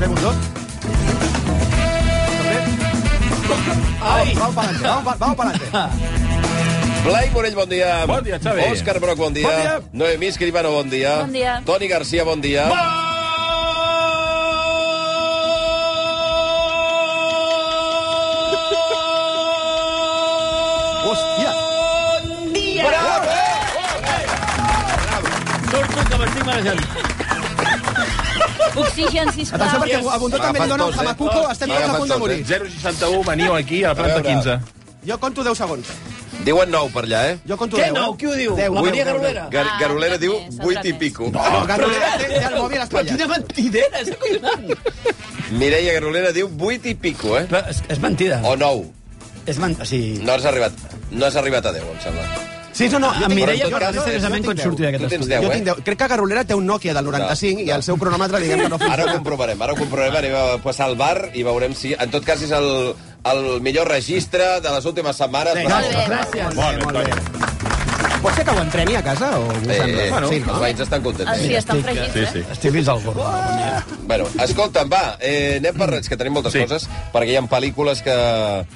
Fem un dos. Vamos, vamos para adelante, vamos, vamos para adelante. Blai Morell, bon dia. Bon dia, Xavi. Òscar Broc, bon dia. Bon dia. Noemí Escribano, bon dia. Bon dia. Toni Garcia, bon dia. Hòstia. Surto que m'estic marejant. Oxigen, Atenció, sisplau. perquè a Bundó també li Agafat donen tots, eh? Hamacuco, estem tots a punt de Agafat morir. 061, veniu aquí a la A planta veure. 15. Jo conto 10 segons. Diuen nou per allà, eh? Jo conto Què 10. no? Qui ho diu? Deu, la deu, Maria deu, Garolera. Gar Ah, Garolera altra diu més, altra 8 i més. pico. No, Garolera té, té el mòbil Però quina espatllat. mentidera, és acollonant. Mireia Garolera diu 8 i pico, eh? Però és, és mentida. O 9. És men... O sigui... No has arribat, no has arribat a 10, em sembla. Sí, no, no. jo Amb tinc- Mireia jo- parlaré jo- jo seriosament tinc quan deu. surti d'aquest Tu tens estudi. deu, Jo eh? tinc 10. Crec que Garolera té un Nokia del 95 i el seu cronòmetre, diguem que no Ara ho funciona. comprovarem, ara ho comprovarem, anem a passar al bar i veurem si... En tot cas, és el, el millor registre de les últimes setmanes. Sí, Passar- gràcies. Molt bé, molt bé. Pot ser que ho entremi a casa o ho Eh, sembla? eh, Sí, els no? veïns estan contents. Ah, sí, estan Sí, fregits, eh? sí. Estic fins al gorro. Bueno, escolta'm, va, eh, anem per Reig, que tenim moltes sí. Sí. coses, perquè hi ha pel·lícules que,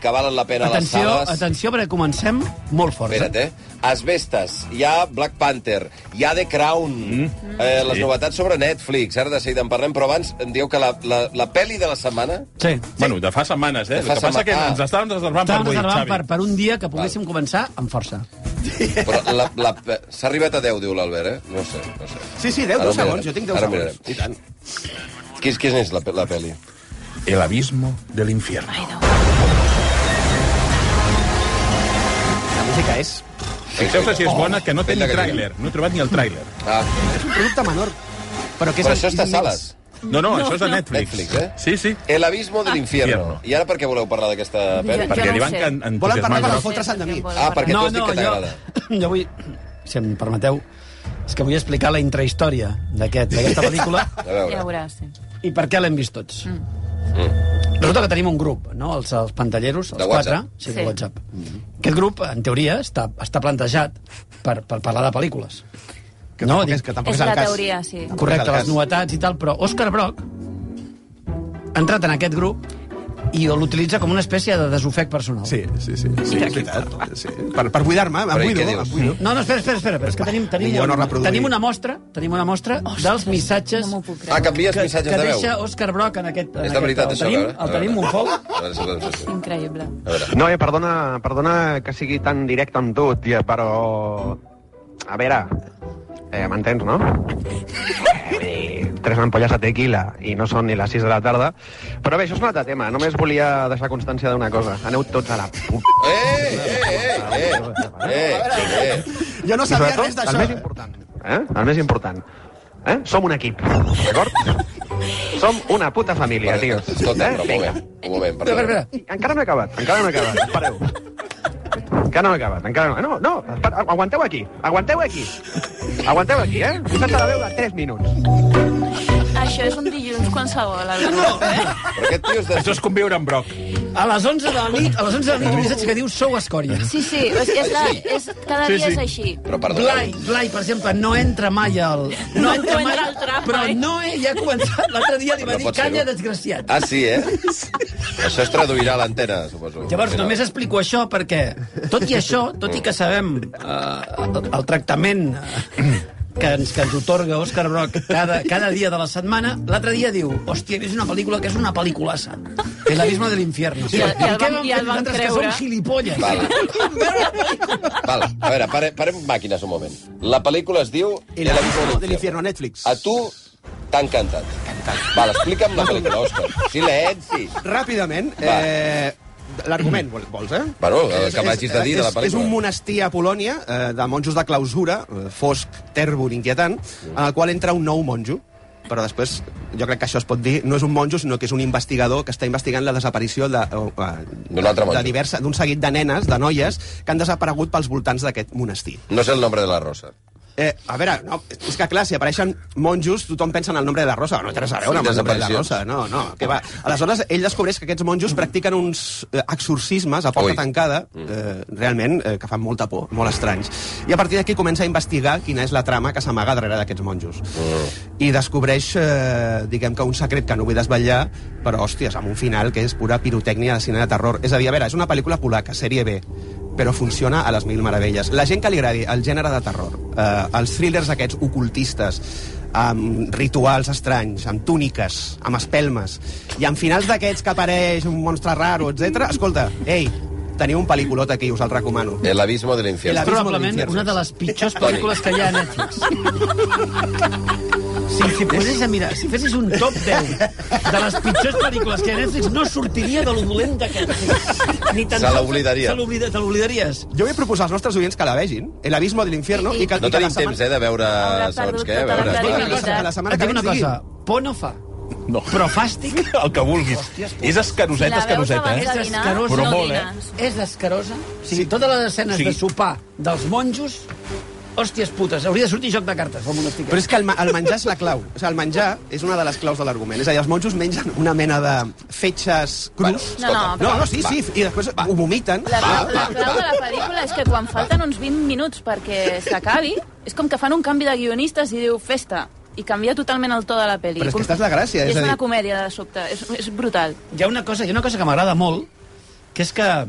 que valen la pena Atenció, a les sales. atenció, perquè comencem molt forts. Espera't, eh? Asbestes, hi ha Black Panther, hi ha The Crown, mm. eh, les Sí. novetats sobre Netflix, ara de seguida en parlem, però abans em dieu que la, la, la pel·li de la setmana... Sí. Bueno, de fa setmanes, eh? De El fa que passa setmana- que Ah. ens estàvem reservant per Estàvem avui, reservant per, Xavi. per un dia que poguéssim començar amb força. Però la- la- S'ha arribat a 10, diu l'Albert, eh? No sé, no sé. Sí, sí, 10, Ara ho 10 segons. mirarem. Jo tinc 10 Ara ho segons. mirarem. I tant. Qui, qui és la, pe- la pel·li? El abismo del infierno. La música és Fixeu-se Oh. si és bona, que no té ni Feta que tràiler. No he trobat ni el tràiler. Ah, és un producte menor. Però, que és però el- això està a immens. sales. No, no, això és de Netflix. Netflix, eh? Sí, sí. El abismo del infierno. Infierno. I ara per què voleu parlar d'aquesta pel·li? Jo Perquè no li ho van sé. can- entusiasmar. Volen parlar de la jo. foto. fotre's en de mi. volen Ah, parlar. perquè tu No, has dit que t'agrada. jo vull, si em permeteu, és que vull explicar la intrahistòria d'aquest- d'aquesta pel·lícula A veure. Ja veuràs, sí. i per què l'hem vist tots. Mm. Resulta que tenim un grup, no? els, els pantalleros, els De quatre. WhatsApp. Sí, Sí. de WhatsApp. Aquest grup, en teoria, està, està plantejat per, per parlar de pel·lícules. Que no, dic- és, que tampoc És és el la cas. teoria, sí. Tampoc és Correcte, el les cas. novetats i tal, però Òscar Brock ha entrat en aquest grup i l'utilitza com una espècie de desofec personal. Sí, sí, sí. sí, és veritat. sí. Per, per buidar-me, em Però i buido, què em dius? buido. No, no, espera, espera, espera, però és que tenim, tenim, Millor no un, reproduir. tenim una mostra, tenim una mostra dels missatges No m'ho puc Ah, creure. canvies que, missatges que de veu. deixa Òscar Brock en aquest... En És de aquest, veritat, el això, eh? tenim, a veure, a el tenim veure. un fou. A veure, a veure, a veure. Increïble. A veure. No, eh, perdona, perdona que sigui tan directe amb tu, tia, però... A veure, eh, m'entens, no? Eh, vull dir, tres ampolles de tequila i no són ni les 6 de la tarda. Però bé, això és un altre tema. Només volia deixar constància d'una cosa. Aneu tots a la puta. Eh, eh, eh, eh, eh, eh, eh. Jo no I sabia sobretot, res El d'això. més important. Eh? El més important. Eh? Som un equip, d'acord? Som una puta família, Perdó, tios. Escolta, Eh, però un Vinga. moment, un moment, Espera, espera, perdó. espera. Encara no he acabat, encara no he acabat. Pareu. Encara no he acabat, encara no. No, no, espera, aguanteu aquí, aguanteu aquí. Aguanteu aquí, eh? Posat a la veu de 3 minuts. Això és un dilluns qualsevol, eh? Albert. Però aquest tio és de... Això és conviure amb Broc. A les 11 de la nit, a les 11 de la nit, un missatge que diu sou escòria. Sí, sí, és, és, la, és cada Sí, dia és sí. així. Però perdó. Blai, Blai, per exemple, no entra mai al... No entra al tram, però eh? no, eh, ja ha començat. L'altre dia li No va dir, pot ser-ho. calla, desgraciat. Ah, sí, eh? Això es traduirà a l'antena, suposo. Llavors, Al final. només explico això perquè, tot i això, tot i que sabem eh, el, el tractament eh, que ens, que ens otorga Òscar Brock cada, cada dia de la setmana, l'altre dia diu, hòstia, he vist una pel·lícula que és una pel·liculassa. El abisme de l'infierno. I el- i el què van- vam i el fer van nosaltres, que creure. som gilipolles? Val. Veure la pel·lícula. Val, a veure, pare, parem màquines un moment. La pel·lícula es diu... El abismo del infierno, Netflix. A tu t'ha encantat. Val, explica'm la pel·lícula, Òscar. Silenci. Ràpidament, Va. eh, l'argument, vol- vols, eh? Bueno, el que És- m'hagis de dir de és- la És pel·lícula. un monestir a Polònia, eh, de monjos de clausura, eh, fosc, tèrbol, inquietant, en el qual entra un nou monjo però després jo crec que això es pot dir, no és un monjo, sinó que és un investigador que està investigant la desaparició de- o, eh, D'un altre monjo. de diversa- d'un seguit de nenes, de noies, que han desaparegut pels voltants d'aquest monestir. No sé el nombre de la rosa. Eh, a veure, no, és que clar, si apareixen monjos, tothom pensa en el nombre de la Rosa. No té res a veure amb el nombre de la Desaparicions. Rosa. No, no, que va. Aleshores, ell descobreix que aquests monjos practiquen uns eh, exorcismes a porta Ui. tancada, eh, realment, eh, que fan molta por, molt estranys. I a partir d'aquí comença a investigar quina és la trama que s'amaga darrere d'aquests monjos. I descobreix, eh, diguem que un secret que no vull desvetllar, però, hòsties, amb un final que és pura pirotècnia de cine de terror. És a dir, a veure, és una pel·lícula polaca, sèrie B, però funciona a les mil meravelles. La gent que li agradi el gènere de terror, eh, els thrillers aquests ocultistes, amb rituals estranys, amb túniques, amb espelmes, i amb finals d'aquests que apareix un monstre raro, etc. Escolta, ei, teniu un pel·liculot aquí, us el recomano. El abismo del infierno. El abismo. Probablement Abismo de una de les pitjors pel·lícules que hi ha a Netflix. Si, si posés a mirar, si fessis un top 10 de les pitjors pel·lícules que hi ha a Netflix, no sortiria de lo dolent d'aquest. Ni tan Se sols- l'oblidaria. Se l'oblida- te l'oblidaries. Jo vull proposar als nostres oients que la vegin, El abismo de l'infierno, i que, No i que la tenim temps, eh, de veure Haurà segons perdut què. A tota la veure, Dic clar. una cosa, que la setmana Et que dic ve una ens diguin. cosa, por no fa, No. però fàstic El que vulguis. és escaroseta, La veus escaroseta, abans eh? de És dinar, escarós, però no molt, eh? dines. és escarosa. O sigui, Sí. totes les escenes Sí. de sopar dels monjos, hòsties putes, hauria de sortir joc de cartes, com una estic. Però és que el, ma- el menjar és la clau. O sigui, el menjar és una de les claus de l'argument. És a dir, els monjos mengen una mena de fetges crus. No, no, no, però- no, sí, sí, i després ho vomiten. La, clau- la clau de la pel·lícula és que quan falten uns 20 minuts perquè s'acabi, és com que fan un canvi de guionistes i diu festa, i canvia totalment el to de la pel·li. Però és que aquesta és la gràcia, És, és a dir- una comèdia, de sobte. És, és brutal. hi ha una cosa, hi ha una cosa que m'agrada molt, que és que,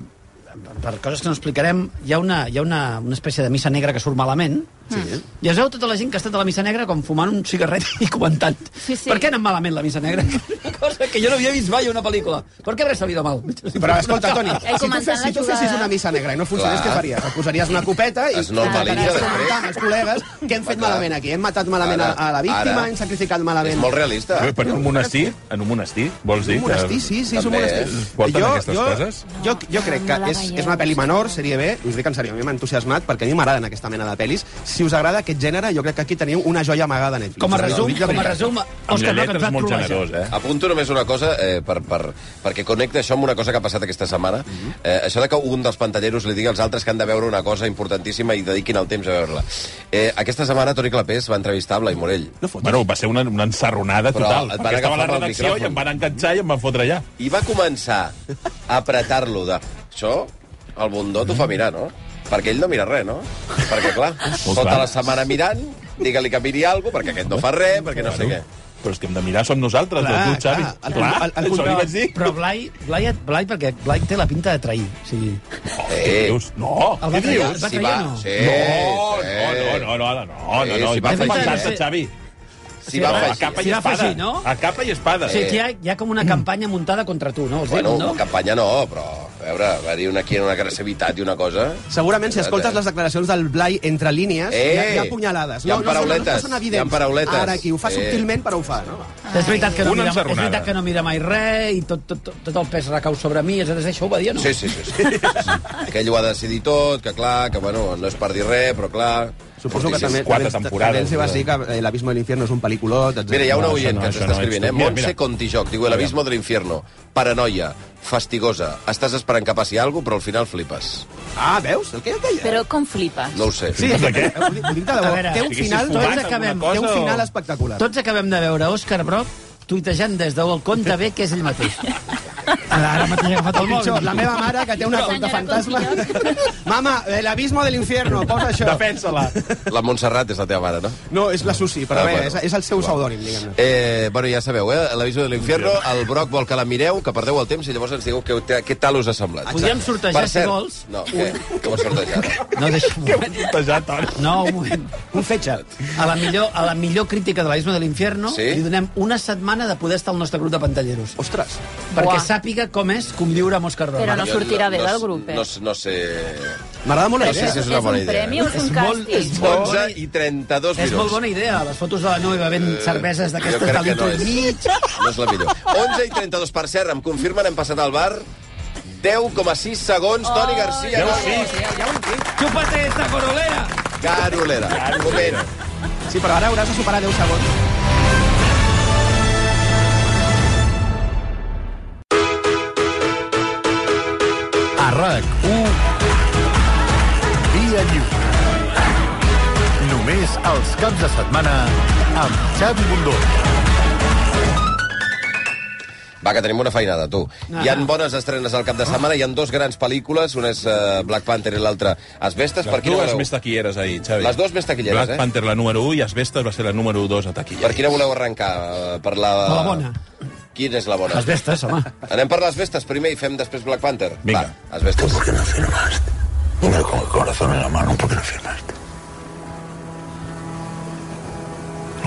per coses que no explicarem, hi ha una, hi ha una, una espècie de missa negra que surt malament, sí. i es veu tota la gent que ha estat a la missa negra com fumant un cigarret i comentant. Sí, sí. Per què ha anat malament la missa negra? Una cosa que jo no havia vist mai a una pel·lícula. Per què haurà salido mal? Però escolta, Toni, Eh, si tu, comentant fes, si la tu fessis jugada. una missa negra i no funcionés, Clar. què faries? Et posaries una copeta i Es normalitza i després. comentar amb els col·legues què hem fet Clar. malament aquí. Hem matat malament a, a la víctima, Ara. hem sacrificat És malament. molt realista. Però en un monestir, en un monestir, vols dir? Un monestir, que- sí, sí, és un També, monestir. eh? Volten aquestes jo, coses? Jo, jo crec que és, és una pel·li menor, sèrie B, us dic en sèrio, a mi m'ha entusiasmat perquè a mi m'agraden aquesta mena de pel·lis. Si us agrada aquest gènere, jo crec que aquí teniu una joia amagada a Netflix. Com a Us ho resum, dic de com a veritat. resum, Amb Òscar, la no, que lletra ens va és molt trobar. generós, eh? Apunto només una cosa eh, per, per, perquè connecta això amb una cosa que ha passat aquesta setmana. Mhm. eh, això de que un dels pantalleros li digui als altres que han de veure una cosa importantíssima i dediquin el temps a veure-la. Eh, aquesta setmana Toni Clapés va entrevistar Blai Morell. No fotis. Bueno, va ser una, una ensarronada Però total. et van Perquè estava a la agafar amb el redacció i micròfon. em van enganxar i em van fotre allà. I va començar a apretar-lo de... Això, el bondó Mhm. t'ho fa mirar, no? Perquè ell no mira res, no? Perquè, clar, tota clar. la setmana mirant, digue-li que miri alguna cosa, perquè aquest no fa res, perquè no sé què. Però és que hem de mirar, som nosaltres, Clar, clar, tu, Xavi. clar, el- clar, el- el- això li vaig dir. Però Blai, Blai, Blai, perquè Blai té la pinta de trair. O sigui, Eh, Oh, Dius, no, el va trair, el va si trair va, o no? sí, No, sí. no, no, no, no, no, no, Eh, no, si si va vas afegir- pensar-te, eh, Xavi. Si va a afegir. capa Si i va espada. afegir, no? A capa i espada. o sigui que hi Eh, ha, hi ha com una campanya muntada contra tu, no? Els Bueno, dius, no? no? campanya no, però, a veure, va dir una, aquí una agressivitat i una cosa... Segurament, si escoltes les declaracions del Blai entre línies, Eh! hi ha, hi ha punyalades. Hi ha No, no són- parauletes, No són evidents. hi ha parauletes. Ara aquí ho fa Eh. subtilment, però ho fa. No? És veritat, que no Una mira, és ensarronada. veritat que no mira mai res i tot, tot, tot, tot el pes recau sobre mi, és això ho va dir, no? Sí, sí, sí, sí, sí, sí. Que ell ho ha de decidir tot, que clar, que bueno, no és per dir res, però clar... Suposo que Fortíssim. també, quatre també, temporades, també els va dir que eh, l'Abismo de l'Infierno és un pel·liculot, etc. Mira, hi ha una No, oient això no, que ens això està no, escrivint, esto- eh? mira, Montse mira. Contijoc, diu, el abismo de l'infierno. Paranoia, fastigosa, estàs esperant que passi alguna però al final flipes. Ah, veus? El que jo et deia. Però com flipes. No ho sé. Sí, de què? Ho dic- ho dic de debò. A veure, Té un sigui, si final, fumat tots alguna acabem, cosa té un o- final espectacular. Tots acabem de veure Òscar Broc tuitejant des del compte B, que és ell mateix. Ara, ara mateix ha agafat El el pitjor, mòbil. la meva mare, que té una Senyora conta fantasma. Contijoc. Mama, el abismo de l'infierno, posa això. Defensa-la. La Montserrat és la teva mare, no? No, és la Susi, però Ah, ah, bé, bueno. és, és el seu pseudònim, diguem-ne. Eh, bueno, ja sabeu, eh? L'aviso de l'infierno, el Broc vol que la mireu, que perdeu el temps i llavors ens digueu què, què tal us ha semblat. Podríem sortejar, Per si cert, vols, No, què? Què vols sortejar? No, deixa un moment. Ja, Toni. No, un moment. Un fetge. A la millor, a la millor crítica de l'Aisme de l'Infierno Sí? li donem una setmana de poder estar al nostre grup de pantalleros. Ostres. Perquè Buah. sàpiga com és conviure amb Òscar Broc. Però no Jo sortirà bé no- del grup, eh? No, no sé... M'agrada molt la No sé idea. si és una bona un idea. premi o és un És molt- càstig? és molt- 11 i 32 És minuts. molt bona idea, les fotos de la Noe bevent cerveses Eh, Jo d'aquestes crec de que no litro i és, mig. no és la millor. 11 i 32, per cert, em confirmen, hem passat al bar 10,6 segons, Oh, Toni Garcia. Deu, Garu- sí. Chúpate esta corolera! Garolera. Moment. Sí, però ara hauràs de superar 10 segons. setmana amb Xavi Bundó. Va, que tenim una feinada, tu. Ah. Hi han bones estrenes al cap de setmana, hi han dues grans pel·lícules, una és eh, Black Panther i l'altra Asbestes. Per Les quina dues voleu, més taquilleres ahir, Xavi. Les dues més taquilleres, Black eh? Panther, la número 1, i Asbestes va ser la número 2 a taquilla. per quina voleu arrencar? Eh, Per la... Per la bona. Quina és la bona? Les bestes, home. Anem per les vestes primer i fem després Black Panther. Vinga. Va, les vestes. no firmaste? Dime con el corazón en la mano, ¿por qué no firmaste?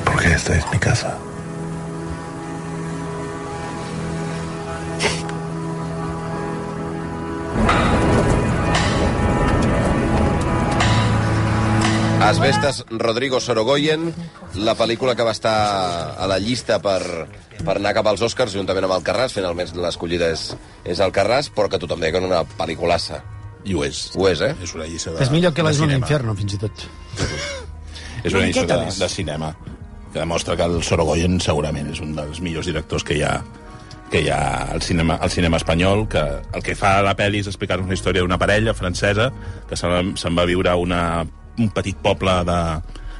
Porque esta es mi casa. Asbestes, Rodrigo Sorogoyen, la pel·lícula que va estar a la llista per, per anar cap als Oscars juntament amb el Carràs, finalment l'escollida és, és el Carràs, però que tothom deia que era una pel·liculassa. I ho és. Ho és, eh? És una lliça de És millor que de la Zona cinema. Inferno, fins i tot. És una lliçó de, de cinema que demostra que el Sorogoyen segurament és un dels millors directors que hi ha que hi ha al cinema, al cinema espanyol, que el que fa a la pel·li és explicar-nos la història d'una parella francesa que se'n se va viure a una, un petit poble de,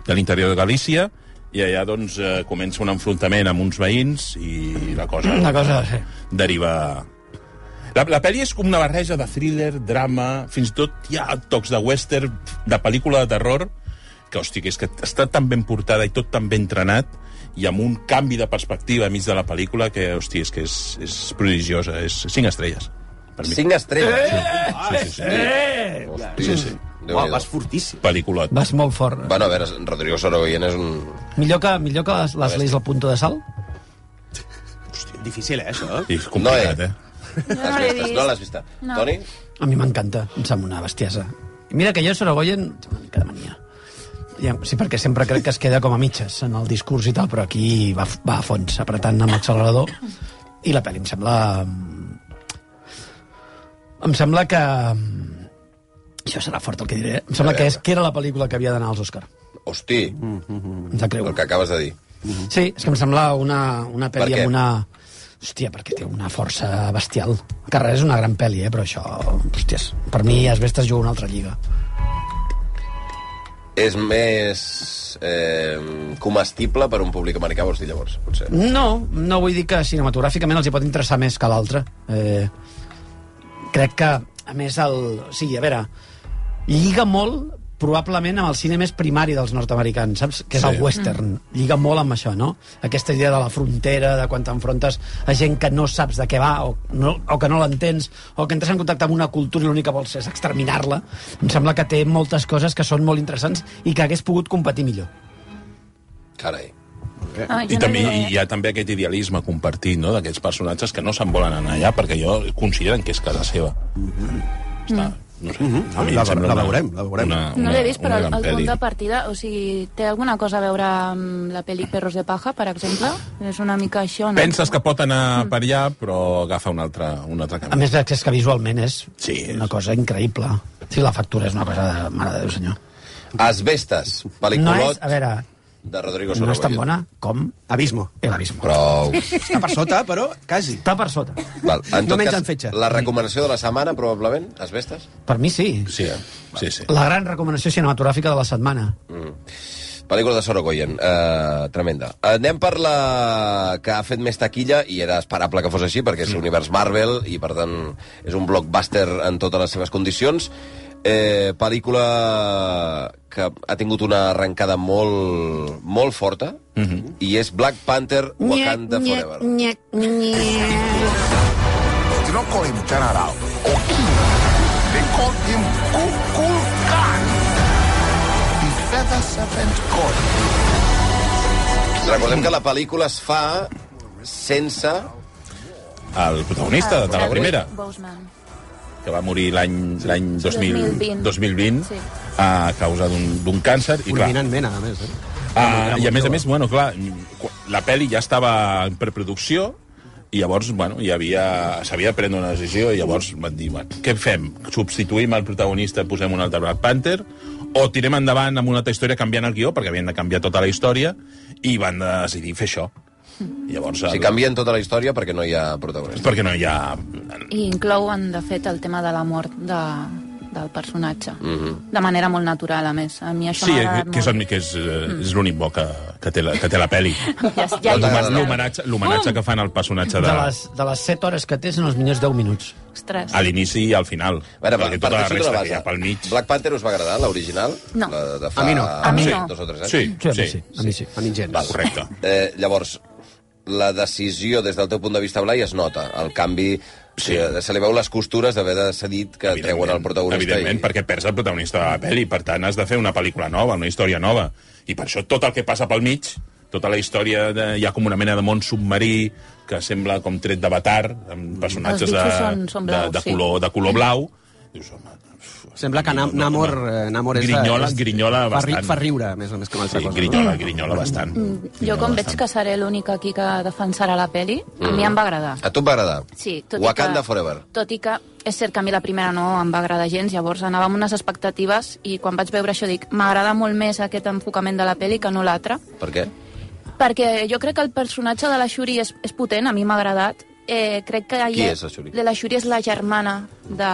de l'interior de Galícia i allà doncs, eh, comença un enfrontament amb uns veïns i la cosa, Una cosa, sí. deriva... La, la pel·li és com una barreja de thriller, drama, fins i tot hi ha tocs de western, de pel·lícula de terror, que, hòstia, que és que està tan ben portada i tot tan ben entrenat, i amb un canvi de perspectiva enmig de la pel·lícula que, hòstia, és que és, és prodigiosa, és 5 estrelles. Per mi. Cinc estrelles. Sí, sí, sí. Hosti, sí. Eh! Uau, Déu-n'hi-do. vas fortíssim. Pel·lículot. Vas molt fort. Bueno, a veure, Rodrigo Sorogoyen és un... Millor que, millor que les, les leis al punto de sal? Difícil, eh, això? I és complicat, No, eh? eh? Jo no Has l'he vist, no vist. l'has vista. No. Toni? A mi m'encanta, em sembla una bestiesa. I Mira que jo Sorogoyen... tinc Una mica de mania. Ja, Sí, perquè sempre crec que es queda com a mitges en el discurs i tal, però aquí va, va a fons, apretant amb l'accelerador. I la pel·li em sembla... mm, Em sembla que... mm, Això serà fort el que diré. eh? Em sembla que, és, que era la pel·lícula que havia d'anar als Òscar. Hosti, Mm. Em sap greu. el que acabes de dir. Sí, és que em sembla una, una Mhm. Per pel·li què? amb una... Hòstia, perquè té una força bestial. Carrer és una gran pel·li, eh? però això... Hòsties, per mi Asbestes juga una altra lliga. És més eh, comestible per un públic americà, vols dir, llavors, potser. No, no vull dir que cinematogràficament els hi pot interessar més que l'altre. Eh, crec que, a més, el... O sigui, a veure, lliga molt probablement amb el cine més primari dels nord-americans, saps? Que és sí. el western. Lliga molt amb això, no? Aquesta idea de la frontera, de quan t'enfrontes a gent que no saps de què va, o, no, o que no l'entens, o que entres en contacte amb una cultura i l'únic que vols és exterminar-la. Em sembla que té moltes coses que són molt interessants i que hagués pogut competir millor. Carai. Ah, jo I no també l'he- hi hi ha també aquest idealisme compartit, no?, d'aquests personatges que no se'n volen anar allà perquè jo consideren que és casa seva. Mm-hmm. Està, no sé. a mi em La- sembla la una- veurem, la veurem. No l'he vist, Ah, una però el, gran el punt peli. de partida... O sigui, té alguna cosa a veure amb la pel·li Perros de paja, per exemple? És una mica això, no? Penses que pot anar Mm. per allà, però agafa un altre, un altre A camí. més, és que visualment és Sí, és. una cosa increïble. Sí, la factura és una cosa de mare de Déu, senyor. Asbestes, No pel·liculot és, a veure, de Rodrigo no Sorogoyen. és tan bona com Abismo. el abismo. Prou. Està per sota, però quasi. Està per sota. Val. En No tot mengen cas, fetge. la recomanació de la setmana, probablement, Asbestes. Per mi sí. Sí, eh? sí, sí. La gran recomanació cinematogràfica de la setmana. Pel·lícula de Sorogoyen, eh, tremenda. Anem per la que ha fet més taquilla, i era esperable que fos així, perquè és l'univers Marvel, i per tant és un blockbuster en totes les seves condicions. Eh, pel·lícula que ha tingut una arrencada molt, molt forta, i és Black Panther Wakanda Forever. They don't call him General or King. They call him Kukul Khan, the feather serpent god. Recordem que la pel·lícula es fa sense... El Ah, protagonista de la primera, Boseman. que va morir l'any l'any 2000 2020. 2020 Sí. a causa d'un d'un càncer. I, clar, Fulminantment, a més, eh? Ah, I a més a més, bueno, clar, mm, la pel·li ja estava en preproducció i llavors, bueno, hi havia... s'havia de prendre una decisió i llavors van dir, bueno, què fem? Substituïm el protagonista i posem un altre Black Panther? O tirem endavant amb una altra història canviant el guió, perquè havien de canviar tota la història, i van decidir fer això. I llavors... O sigui, canvien tota la història perquè no hi ha protagonista. Perquè no hi ha... I inclouen, de fet, el tema de la mort de, del personatge. Mhm. De manera molt natural, a més. A mi això Sí, m'ha eh, agradat que és, molt. el- que és, eh, és l'únic bo que, que, té la, que té la pel·li. Ja, ja, L'home- ja, Uh! L'homenatge l'homenatge que fan al personatge de, De les, de les 7 hores que té són els millors 10 minuts. Ostres. a l'inici i al final. Veure, perquè tota la parteixo d'una resta base. que hi ha pel mig... Black Panther us va agradar, l'original? No. La de fa... A mi no. A mi no. Dos o tres anys? Sí, sí, sí. A mi sí. A mi gens. Val. Correcte. Eh, llavors, la decisió des del teu punt de vista, Blai, es nota. El canvi... Sí. Se li veu les costures d'haver decidit que treuen el protagonista. Evidentment, i... perquè perds el protagonista de la pel·li, per tant has de fer una pel·lícula nova, una història nova. I per això tot el que passa pel mig, tota la història, de, hi ha com una mena de món submarí que sembla com tret d'avatar, amb personatges Mm. Els de, bitxos són- són blaus, de, de, sí. color, de color blau. Dius, home, Sembla que Na- No, no, Namor, no. eh, Namor és... de- Grinyola- és- grinyola fa ri- bastant. Fa riure, més o més que una altra sí, cosa. grinyola, grinyola bastant. Mm. Jo, Grinyola com veig bastant. que seré l'única aquí que defensarà la peli, a mi em va agradar. A tu et va agradar? Sí, tot Wakanda i que, Forever. Tot i que és cert que a mi la primera no em va agradar gens, llavors anava amb unes expectatives i quan vaig veure això dic m'agrada molt més aquest enfocament de la pel·li que no l'altre, Per què? perquè jo crec que el personatge de la Shuri és, és potent, a mi m'ha agradat. Eh, crec que Qui ella- és la Shuri? La Shuri és la germana de,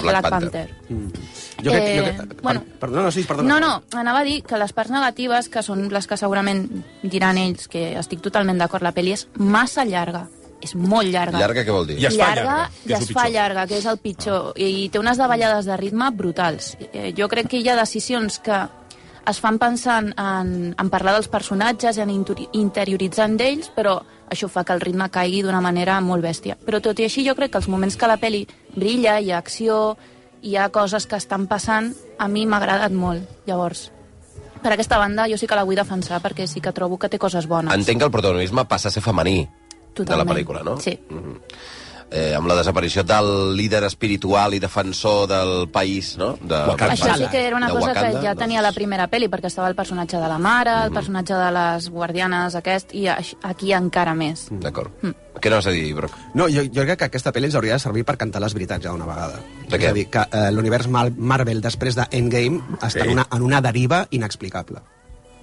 Black Panther. Jo crec, Eh, jo crec, per, bueno. perdona, no, sí, No, perdona. no, anava a dir que les parts negatives, que són les que segurament diran ells, que estic totalment d'acord, la pel·li és massa llarga. És molt llarga. Llarga, què vol dir? I es fa llarga, llarga, que i és el es fa pitjor. llarga, que és el pitjor. I té unes davallades de ritme brutals. Eh, jo crec que hi ha decisions que es fan pensant en, en parlar dels personatges, en intu- interioritzar en d'ells, però això fa que el ritme caigui d'una manera molt bèstia. Però tot i així jo crec que els moments que la peli brilla, hi ha acció, hi ha coses que estan passant, a mi m'ha agradat molt. Llavors, per aquesta banda jo sí que la vull defensar perquè sí que trobo que té coses bones. Entenc que el protagonisme passa a ser femení de Totalment. la pel·lícula, no? Sí. Eh, amb la desaparició del líder espiritual i defensor del país, no? De Wakanda. Això sí que era una de cosa Wakanda, que ja doncs. tenia la primera pel·li, perquè estava el personatge de la mare, el personatge de les guardianes aquest, i aix- aquí encara més. D'acord. Mm. Què no vas a dir, Broc? No, jo, jo crec que aquesta pel·li ens hauria de servir per cantar les veritats ja d'una vegada. De què? És a dir, que eh, l'univers Mal- Marvel després d'Endgame està en, una, en una deriva inexplicable.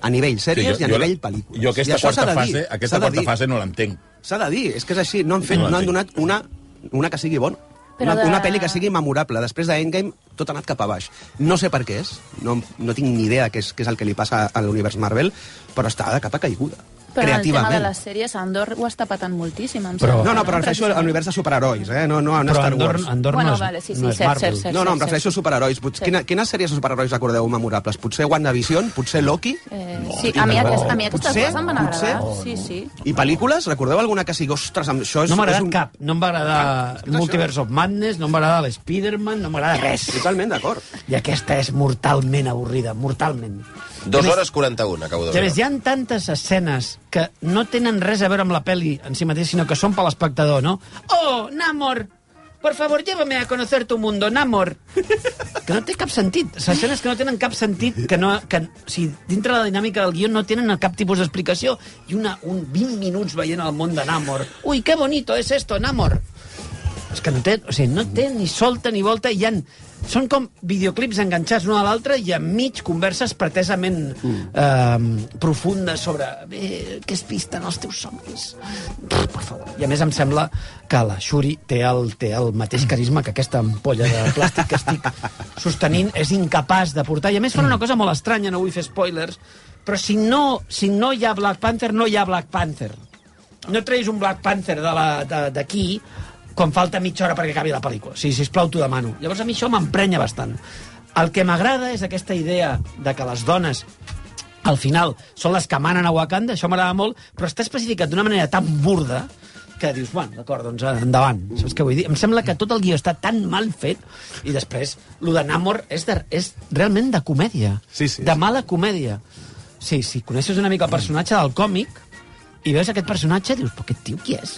A nivell sèries sí, jo, i a nivell pel·lícules. Jo I aquesta això s'ha quarta de dir, fase, s'ha aquesta de quarta dir, fase no l'entenc. S'ha de dir, és que és així. No han, fet, No, no, han sí. donat una, una que sigui bona. Però Una, de- una pel·li que sigui memorable. Després d'Endgame, tot ha anat cap a baix. No sé per què és, no, no tinc ni idea què és, què és el que li passa a l'univers Marvel, però està de capa caiguda. Però en el tema creativament. de les sèries, Andor ho està patant moltíssim, em Però- sembla. No, no, però em refereixo a Precisament. l'univers de superherois, eh? No, no, no Però Star Andor, Wars. Andor Bueno, no és, vale, sí, sí, no és cert, Marvel. cert, cert. No, no, em sí. refereixo a superherois. Potser, Sí. quina, quines sèries de superherois recordeu memorables? Potser WandaVision, potser Loki... Eh, sí, a mi, aquest, a mi aquestes Potser, coses em van potser. agradar. Sí, sí. I pel·lícules? Recordeu alguna que sigui, ostres, amb això és... No m'ha és agradat un... cap. No em va agradar Multiverse of Madness, no em va agradar l'Spiderman, no m'agrada res. Totalment d'acord. I aquesta és mortalment avorrida, mortalment. Dos A més- hores 41, acabo de I a més, hi veure. ha tantes escenes que no tenen res a veure amb la peli en si mateix, sinó que són per l'espectador, no? Oh, Namor! Por favor, llévame a conocer tu mundo, Namor! Que no té cap sentit. Les escenes que no tenen cap sentit, que no... Que, o sigui, dintre la dinàmica del guió no tenen cap tipus d'explicació. I una, un 20 minuts veient el món de Namor. Ui, que bonito es esto, Namor! És que no té, o sigui, no té ni solta ni volta, hi ha, són com videoclips enganxats l'un a l'altre i enmig converses pretesament mm. eh, profundes sobre eh, què es pisten els teus somnis. Pff, per favor. I a més em sembla que la Shuri té el, té el mateix carisma que aquesta ampolla de plàstic que estic sostenint és incapaç de portar. I a més fan una cosa molt estranya, no vull fer spoilers, però si no, si no hi ha Black Panther, no hi ha Black Panther no treguis un Black Panther de la- de- d'aquí quan falta mitja hora perquè acabi la pel·lícula. O sigui, sisplau, t'ho demano. Llavors a mi això m'emprenya bastant. El que m'agrada és aquesta idea de que les dones al final són les que manen a Wakanda, això m'agrada molt, però està especificat d'una manera tan burda que dius, bueno, d'acord, doncs eh, endavant. Saps què vull dir? Em sembla que tot el guió està tan mal fet i després, lo de Namor és, de, és realment de comèdia. Sí, sí, de sí. mala comèdia. Sí, sí, coneixes una mica el personatge del còmic i veus aquest personatge i dius, però aquest tio qui és?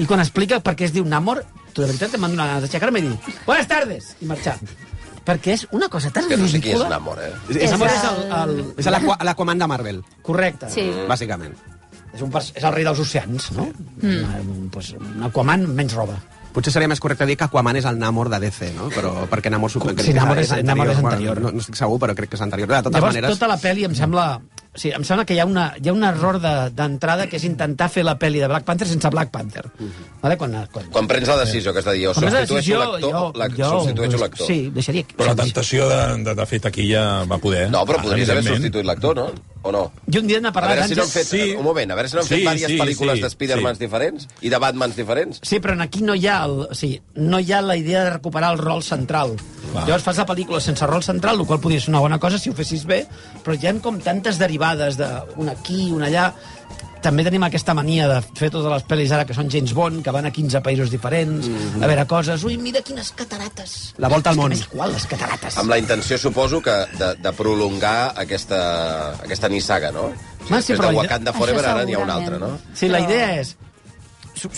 I quan explica per què es diu Namor, tu de veritat em van donar ganes d'aixecar-me i dir «Buenas tardes!» i marxar. Perquè és una cosa tan Que no sé qui és ridícula. Namor, eh? És, Namor és és, el... el... és l'Aqua- l'Aquaman de Marvel, Correcte. Sí. bàsicament. És, un, pers- és el rei dels oceans, no? Mm. Un, pues, un Aquaman menys roba. Potser seria més correcte dir que Aquaman és el Namor de DC, no? Però perquè Namor... suposo que Sí, Namor és- Namor és Bueno, anterior. no, no estic segur, però crec que és anterior. De totes Llavors, maneres... tota la pel·li em sembla O sigui, em sembla que hi ha, una, hi ha un error de- d'entrada de, que és intentar fer la pel·li de Black Panther sense Black Panther. Vale? Quan, quan, Mhm. Quan prens la decisió, que és de dir, o Quan prens la substitueixo decisió, l'actor, jo- la- jo- substitueixo l'actor. Sí, deixaria... Però la temptació de, de, de fer taquilla va poder. ah, No, però podries haver evidentment. substituït l'actor, no? O no? Jo un dia n'he A parlat veure si no han antes- fet... Sí. Un moment, a veure si no han fet Sí, diverses sí, pel·lícules sí, de Spider-Mans sí. diferents i de Batmans diferents. Sí, però en aquí no hi ha, el, o sigui, no hi ha la idea de recuperar el rol central. Va. Va. Llavors fas la pel·lícula sense rol central, el qual podria ser una bona cosa si ho fessis bé, però hi ha com tantes derivades d'una aquí, una allà... També tenim aquesta mania de fer totes les pel·lis ara que són James Bond, que van a 15 països diferents, a veure coses... Ui, mira quines catarates! Mhm. La volta al món. És igual, les catarates. Amb la intenció, suposo, que de, de prolongar aquesta, aquesta nissaga, no? Ma, Després sí, però de la- Wakanda Forever Això ara n'hi ha una altra, no? segurament. Sí, la Però- idea és...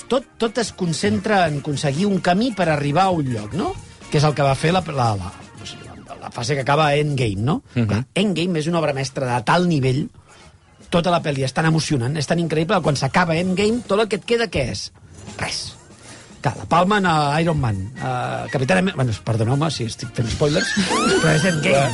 Tot, tot es concentra en aconseguir un camí per arribar a un lloc, no? Que és el que va fer la, la, la, o sigui, la, la fase que acaba a Endgame, no? Uh -huh. Endgame és una obra mestra de tal nivell, tota la pel·li és tan emocionant, és tan increïble, que quan s'acaba Endgame, tot el que et queda què és? Res. Clar, la palma en uh, Iron Man. Uh, Capitán Amèrica... Bueno, perdoneu-me si estic fent spoilers, però és Endgame.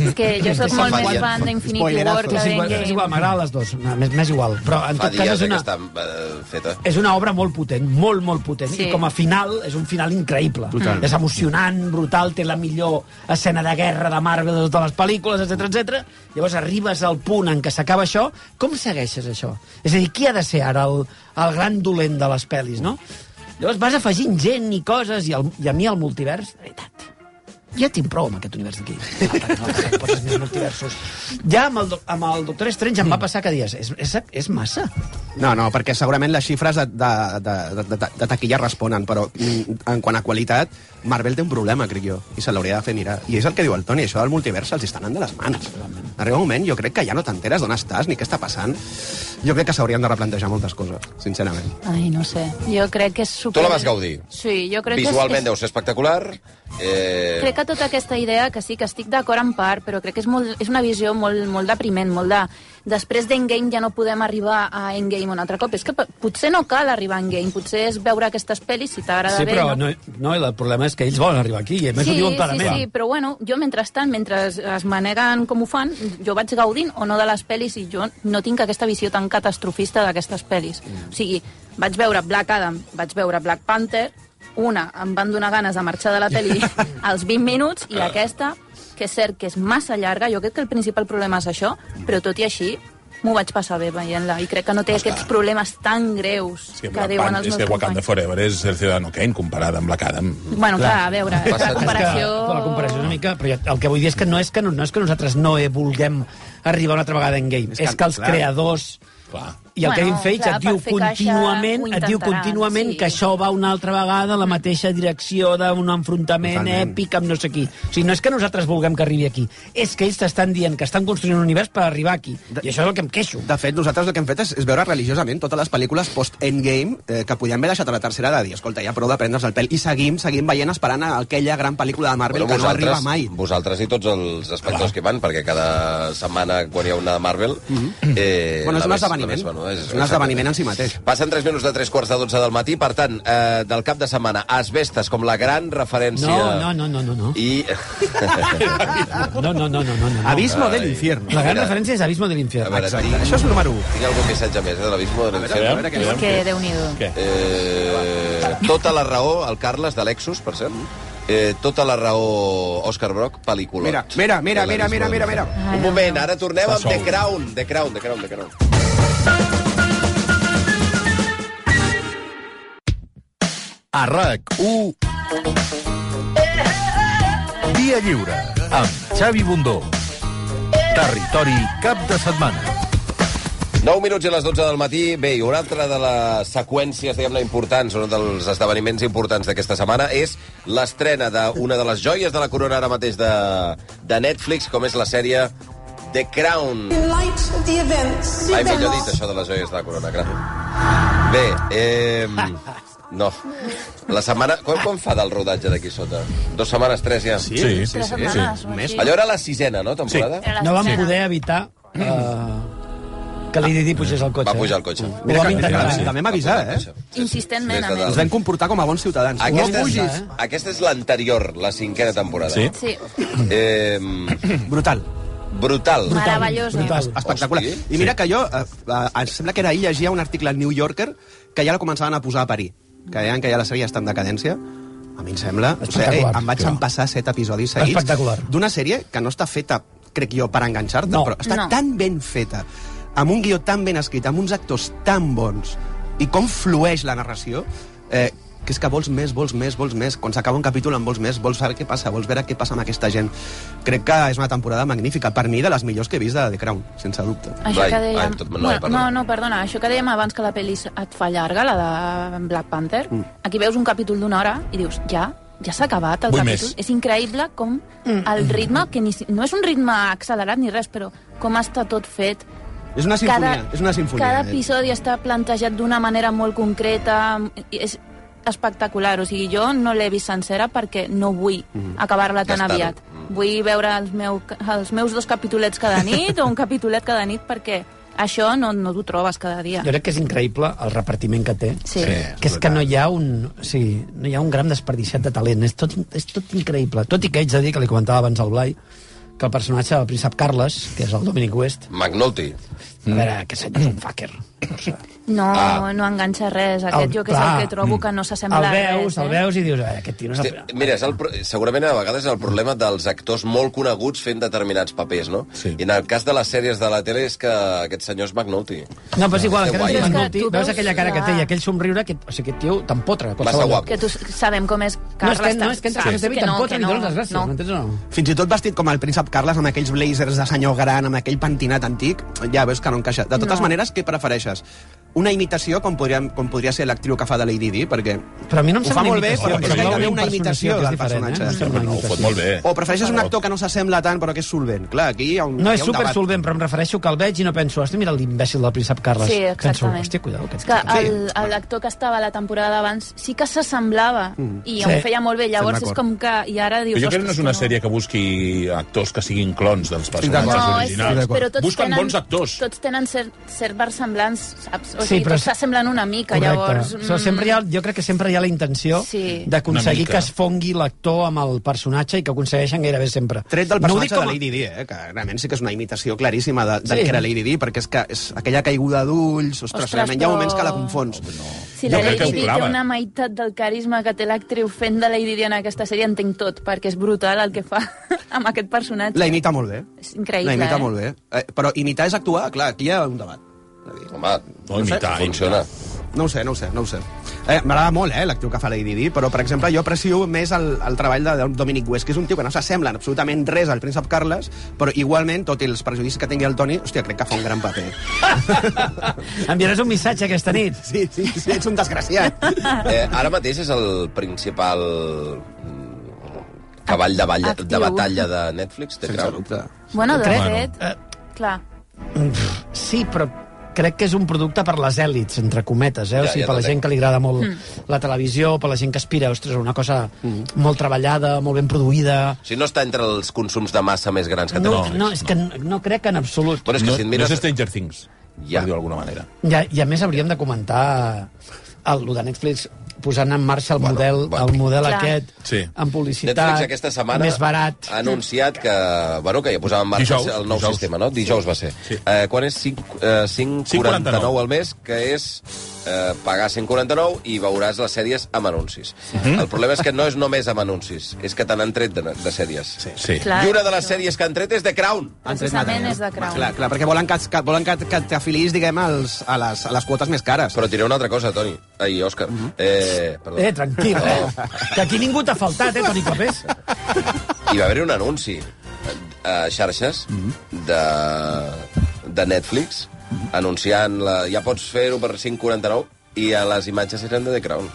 És que jo soc molt fa més igual. fan d'Infinity Spoilerazo. War que És igual, és igual d'Endgame. m'agraden les dues, m'és m'és igual. Però en Fa tot cas dies és eh, que una, està eh, feta. és una obra molt potent, molt, molt potent. Sí. Sí. I com a final, és un final increïble. Total. És emocionant, brutal, té la millor escena de guerra de Marvel de totes les pel·lícules, etc etc. Llavors arribes al punt en què s'acaba això. Com segueixes això? És a dir, qui ha de ser ara el, el gran dolent de les pel·lis, no? Llavors vas afegint gent i coses, i, el, i a mi el multivers, de veritat, ja tinc prou amb aquest univers d'aquí. No, no, poses més multiversos. Ja amb el, do- amb el Doctor Strange em va passar que dies, és, és, és massa. No, no, perquè segurament les xifres de, de, de, de, de, de taquilla responen, però mm, en quant a qualitat, Marvel té un problema, crec jo, i se l'hauria de fer mirar. I és el que diu el Toni, això del multivers els està anant de les mans. Arriba un moment, jo crec que ja no t'enteres d'on estàs ni què està passant. Jo crec que s'haurien de replantejar moltes coses, sincerament. Ai, no sé. Jo crec que és super... Tu la vas gaudir? Sí, jo crec Visualment que és... deu ser espectacular. Eh... Crec que tota aquesta idea, que sí, que estic d'acord en part, però crec que és, molt, és una visió molt, molt depriment, molt de... Després d'Endgame ja no podem arribar a Endgame un altre cop. És que p- potser no cal arribar a Endgame, potser és veure aquestes pel·lis si t'agrada Sí, bé. però no, no, el problema és que ells volen arribar aquí, i a més sí, ho sí, diuen clarament. sí, però bueno, jo mentrestant, mentre es, es maneguen com ho fan, jo vaig gaudint o no de les pel·lis i jo no tinc aquesta visió tan catastrofista d'aquestes pel·lis. Mm. O sigui, vaig veure Black Adam, vaig veure Black Panther, una, em van donar ganes de marxar de la pel·li als 20 minuts, i aquesta, que és cert que és massa llarga, jo crec que el principal problema és això, però tot i així m'ho vaig passar bé veient-la, i crec que no té aquests problemes tan greus És que, que, Black diuen Pan- els és meus que Wakanda companys. Forever és el Ciudadano Kane comparada amb Black Adam. Bueno, clar, a veure, és Passa- la És que- comparació... És que, la comparació és una mica... Però ja, el que vull dir és que no és que, no, no és que nosaltres no eh, vulguem arribar una altra vegada en game. És, que, els clar. creadors Clar. i el Bueno, Kevin Feige clar, et diu per fer caixa contínuament, ho et diu intentaran, contínuament sí. que això va una altra vegada a la mateixa direcció d'un enfrontament Totalment. èpic amb no sé qui. O sigui, no és que nosaltres vulguem que arribi aquí, és que ells t'estan dient que estan construint un univers per arribar aquí. I això és el que em queixo. De fet, nosaltres el que hem fet és, és veure religiosament totes les pel·lícules post-Endgame eh, que podíem haver deixat a la tercera de dir, escolta, ja prou de prendre's el pèl. I seguim, seguim veient, esperant aquella gran pel·lícula de Marvel que no arriba mai. vosaltres i tots els espectadors que van, perquè cada setmana, quan hi ha una de Marvel... eh, Mhm. la Bueno, és un més- la esdeveniment. més venuda És un esdeveniment en si mateix. Passen 3 minuts de 3 quarts de 12 del matí, per tant, eh, del cap de setmana, es vestes com la gran referència... No, no, no, no, no, no. eh. I... No, no, no, no, no. no. Abismo del infierno. La gran Mira. referència és Abismo de l'Infierno. Exacte. Això és el número 1. Tinc algun missatge més, eh, de l'abismo de l'infern. veure, És que, Déu-n'hi-do. Eh, tota la raó, el Carles, de Lexus, per cert. Eh, tota la raó, Òscar Brock, pel·lícula. Mira, mira, mira, mira, mira, mira, mira. Un moment, ara tornem amb Està The sol. Crown, The Crown, The Crown, The Crown. a RAC1 Dia Lliure amb Xavi Bundó Territori cap de setmana 9 minuts i les 12 del matí. Bé, i una altra de les seqüències, diguem-ne, importants, un dels esdeveniments importants d'aquesta setmana, és l'estrena d'una de les joies de la corona ara mateix de, de Netflix, com és la sèrie The Crown. Ai, millor dit, això de les joies de la corona, gràcies. Bé, eh... No. La setmana... Quan, quan fa del rodatge d'aquí sota? Dos setmanes, tres ja? Sí, sí, sí. Tres sí. setmanes, o així. Allò era la sisena, no, temporada? Era la No vam sisena. poder evitar eh, que Lady Di pugés al cotxe. Va pujar al cotxe. Ho Mira vam que, mira que intentar, la- eh? també m'ha avisat, eh? Insistentment, Des a de Ens més. vam comportar com a bons ciutadans. Aquesta Ho vam és, pujar, eh? aquesta és l'anterior, la cinquena temporada. Sí. Sí. Eh, Brutal. Brutal. Meravellosa. Brutal. Espectacular. Hosti. I mira que jo, eh, eh, em sembla que era ahir, llegia un article al New Yorker que ja la començaven a posar a parir, que deien que ja la sèrie està en decadència. A mi em sembla... O sigui, eh, Espectacular. em vaig Jo. empassar set episodis seguits Espectacular. d'una sèrie que no està feta, crec jo, per enganxar-te, No. però està No. tan ben feta, amb un guió tan ben escrit, amb uns actors tan bons, i com flueix la narració, eh, que és que vols més, vols més, vols més. Quan s'acaba un capítol en vols més, vols saber què passa, vols veure què passa amb aquesta gent. Crec que és una temporada magnífica. Per mi, de les millors que he vist de The Crown, sense dubte. Això que dèiem... Bueno, no, no, perdona. Això que dèiem abans que la pel·li et fa llarga, la de Black Panther, Mm. aquí veus un capítol d'una hora i dius, ja, ja s'ha acabat el Vull capítol. més. És increïble com Mm. el ritme, que ni, si- no és un ritme accelerat ni res, però com està tot fet. És una sinfonia, és una sinfonia, Cada eh? episodi està plantejat d'una manera molt concreta, i és espectacular. O sigui, jo no l'he vist sencera perquè no vull Mhm. acabar-la tan Gastar-ho. aviat. Mhm. Vull veure els, meu, els meus dos capitulets cada nit o un capitulet cada nit perquè això no, no t'ho trobes cada dia. Jo crec que és increïble el repartiment que té. Sí. Sí, que és que no hi ha un, o sigui, no hi ha un gram desperdiciat de talent. És tot, és tot increïble. Tot i que haig de dir, que li comentava abans al Blai, que el personatge del príncep Carles, que és el Dominic West, McNulty. a Mm. veure, que senyor és un fucker. No, Ah. ah. no enganxa res. Aquest El- jo que és el clar. que trobo Mm. que no s'assembla El a veus, res. eh? el veus i dius, "Ah, aquest tio no és... Hosti, mira, és el, pro- segurament a vegades és el problema dels actors molt coneguts fent determinats papers, no? Sí. I en el cas de les sèries de la tele és que aquest senyor és McNulty. No, però és Ah, igual, encara guai. és McNulty, tu veus veus, aquella cara que clar. té i aquell somriure, que, o sigui, aquest tio t'empotra. a Massa qualsevol guapo. Que tu sabem com és No, és Carles. que, no, és que en saps Carles David que no, tampoc que li no, dones les gràcies, no. m'entens o no? Fins i tot vestit com el príncep Carles, amb aquells blazers de senyor gran, amb aquell pentinat antic, ja veus que no encaixa. De totes No. no. maneres, què prefereixes? Una imitació, com podria, com podria ser l'actriu que fa de Lady Di, perquè Però a mi no em ho sembla fa molt bé, imitació, però però és gairebé jo una veig una imitació imitació del que és diferent, personatge. eh? No em sembla una No, ho fot imitació. molt bé. Oh, O prefereixes un actor que no s'assembla tant, però que és solvent. Clar, aquí hi ha un, No hi és ha un super debat. solvent, però em refereixo que el veig i no penso, hòstia, mira l'imbècil del príncep Carles. Sí, Penso, exactament. hòstia, cuidao. Aquest... És que ah, el- el- l'actor que estava a la temporada abans sí que s'assemblava Mm. i Sí. ho feia molt bé. Llavors Estem és d'acord. com que... I ara dius... Però jo crec que no és "Ostres, una sèrie que busqui actors que siguin clons dels personatges No, és- originals. però tots Busquen tenen, bons actors. Tots tenen cert, cert versemblants, saps? O Sí, sigui, però tots és- s'assemblen una mica, llavors... O sigui, sempre hi ha, jo crec que sempre hi ha la intenció Sí. d'aconseguir Una mica. que es fongui l'actor amb el personatge i que aconsegueixen gairebé sempre. Tret del ho dic personatge com de Lady Di, eh? que realment sí que és una imitació claríssima de, del Sí. que era Lady Di, perquè és que és aquella caiguda d'ulls, ostres, Ostres, ostres, realment hi ha però- moments que la confons. mm, Si la Lady Di té una meitat del carisma que té l'actriu fent de Lady Di en aquesta sèrie, entenc tot, perquè és brutal el que fa amb aquest personatge. La imita molt bé. És increïble, La imita eh? molt bé. Eh, però imitar és actuar, clar, aquí hi ha un debat. Home, no imitar, funciona. No ho sé, no ho sé, no ho sé. Eh, M'agrada molt, eh, l'actiu que fa Lady Di, però, per exemple, jo aprecio més el, el treball de Dominic West, que és un tio que no s'assembla en absolutament res al príncep Carles, però igualment, tot i els prejudicis que tingui el Toni, hòstia, crec que fa un gran paper. Enviaràs un missatge aquesta nit? Sí, sí, sí, ets un desgraciat. Eh, ara mateix és el principal mm, cavall de, balla, de batalla de Netflix, té creu? Bueno, de Crec- fet, Eh, clar, Sí, però crec que és un producte per les èlits, entre cometes, Ja, eh? o sigui, ja per la gent t'entenc. que li agrada molt Mm. la televisió, per la gent que aspira, ostres, a una cosa molt treballada, molt ben produïda. O sigui, no està entre els consums de massa més grans que té No, Netflix. no, és que no, no crec que en absolut. Bueno, és que no, si et mires... no és Stranger Things, ja. per dir d'alguna manera. Ja, I a més hauríem de comentar el, el de Netflix posant en marxa el model, el model Clar. aquest Sí. amb publicitat Netflix aquesta setmana Ah, més barat. ha anunciat que, bueno, que ja posava en marxa Dijous, el nou dijous. sistema, no? Dijous va ser. Sí. Eh, quan és 5, eh, 5,49 al mes, que és eh, pagar 149 i veuràs les sèries amb anuncis. El problema és que no és només amb anuncis, és que te n'han tret de, de sèries. Sí. sí. Clar, I una de les sèries que han tret és The Crown. precisament és de Crown. Clar, clar, perquè volen que, que, volen que, que t'afilis, diguem, als, a, les, a les quotes més cares. Però diré una altra cosa, Toni. Ai, Òscar. eh, perdó. Eh, tranquil, eh? Oh. Que aquí ningú t'ha faltat, eh, Toni Clapés? Hi va haver un anunci eh, a xarxes Mhm. de, de Netflix anunciant la, ja pots fer-ho per 5,49 i a les imatges eren de The Crown.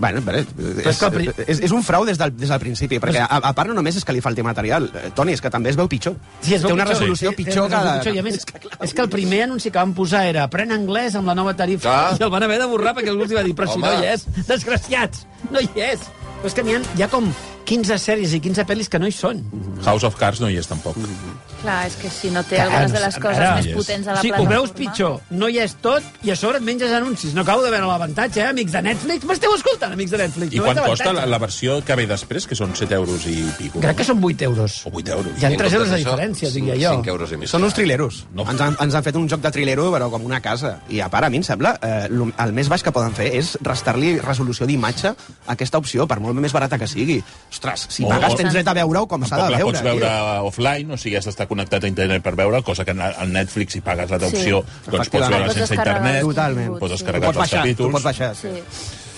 Bueno, però és és, eh, que el pri- és, és, un frau des del, des del principi, perquè a, a part no només és que li falti material, eh, Toni, és que també es veu pitjor. Té una resolució pitjor que... la... Pitjor. I a més, és que el primer anunci que van posar era pren anglès amb la nova tarifa Clar. i el van haver de borrar perquè algú els va dir però si Home. no hi és, desgraciats, no hi és. Però és que n'hi ha, hi ha com 15 sèries i 15 pel·lis que no hi són. House of Cards no hi és tampoc. Mm -hmm. Clar, és que si no té Clar, algunes no de les sé, coses ara- més potents de la sí, ho plataforma... veus pitjor. No hi és tot i a sobre et menges anuncis. No acabo de veure l'avantatge, eh, amics de Netflix. M'esteu escoltant, amics de Netflix. I No quan veig costa la, l'avantatge. la versió que ve després, que són 7 euros i pico? Crec que són 8 euros. O 8 euros. Hi ha 3 euros de Això, diferència, cinc- diria jo. cinc euros i mig. Són uns trileros. No. No. Ens, han, ens han fet un joc de trilero, però com una casa. I a part, a mi em sembla, eh, lo- el més baix que poden fer és restar-li resolució d'imatge a aquesta opció, per molt més barata que sigui. Ostres, si O- pagues o- tens dret a veure-ho com s'ha de Tampoc la Ah, veure. eh. pots veure offline, o sigui, has d'estar connectat a internet per veure, cosa que a Netflix, si pagues l'altra Sí. opció, doncs pots Efectivament. veure Pots sense descarregar internet, els Totalment. pots T'ho descarregar pots els baixar, capítols... t'ho pots baixar, sí.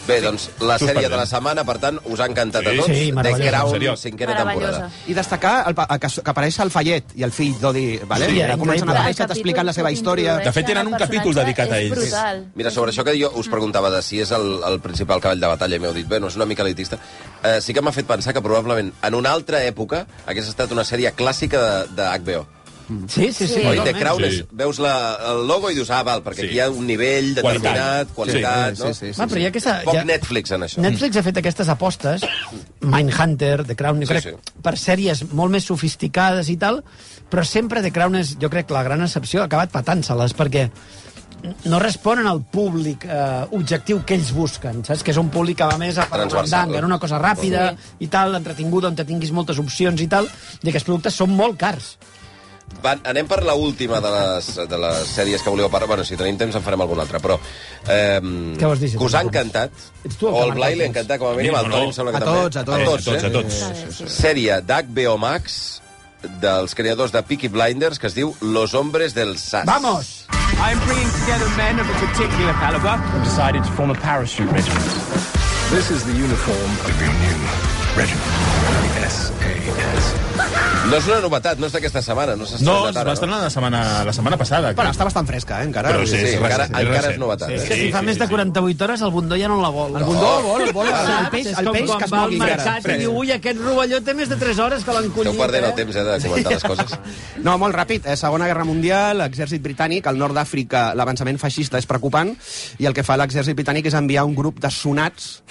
Bé, doncs, la Just sèrie parlem. de la setmana, per tant, us ha encantat a Sí, tots. sí, The meravellosa. Crown, Seriós. cinquena temporada. I destacar el, pa- que, que apareix el Fallet i el fill d'Odi, vale? Sí, Sí, era comencen increïble. a aparèixer, t'expliquen la seva història. Mira, sobre això que jo us preguntava de si és el, el principal cavall de batalla, i m'heu dit, bueno, és una mica elitista, eh, sí que m'ha fet pensar que probablement en una altra època hagués estat una sèrie clàssica de, de HBO. Sí, sí, sí. Oi, The totalment. Crown, és, veus la, el logo i dius, ah, val, perquè aquí hi ha un nivell determinat, Qualitat. eh? qualitat, Sí, no? sí, sí, Va, sí, però hi ha sí. aquesta- Poc hi ha- Netflix en això. Netflix ha fet aquestes apostes, Mindhunter, The Crown, jo Sí, crec, sí, sí. per sèries molt més sofisticades i tal, però sempre The Crown és, jo crec, la gran excepció, ha acabat patant-se-les, perquè no responen al públic eh, objectiu que ells busquen, saps? Que és un públic que va més a per la Transversal. mandanga, era una cosa ràpida i tal, entretinguda, on te tinguis moltes opcions i tal, i aquests productes són molt cars. Va, anem per la última de les, de les sèries que volíeu parlar. Bueno, si tenim temps en farem alguna altra, però... Eh, Què vols dir, si Que us ha tenim temps? encantat, tu el o que el Blai li marca ha el temps. encantat, com a mínim, A mi, el no, Toni no. em sembla A que també. tots, a tots. A tots, a tots. Sí, sí, sí. Sèrie d'HBO Max dels creadors de Peaky Blinders que es diu Los Hombres del Sas. Vamos! I'm bringing together men of a particular caliber. I've decided to form a parachute regiment. This is the uniform of your new regiment. S.A.S. No és una novetat, no és d'aquesta setmana. No, s'ha No, estrenat es va ara, estrenar la setmana, la setmana passada. Bueno, està bastant fresca, eh, encara. Però sí, és recent, encara, és encara recent. és novetat. Sí, eh? És que si fa més de 48 hores el bundó ja no la vol. El bundó la vol, el vol. Saps? El peix- És el com peix quan que es va al mogui, cara. mercat i Fresca. diu, ui, aquest rovelló té més de 3 hores que l'han collit. Esteu perdent el eh?" temps, eh, de comentar les coses. No, molt ràpid. Eh, Segona Guerra Mundial, l'exèrcit britànic, al nord d'Àfrica l'avançament feixista és preocupant i el que fa l'exèrcit britànic és enviar un grup de sonats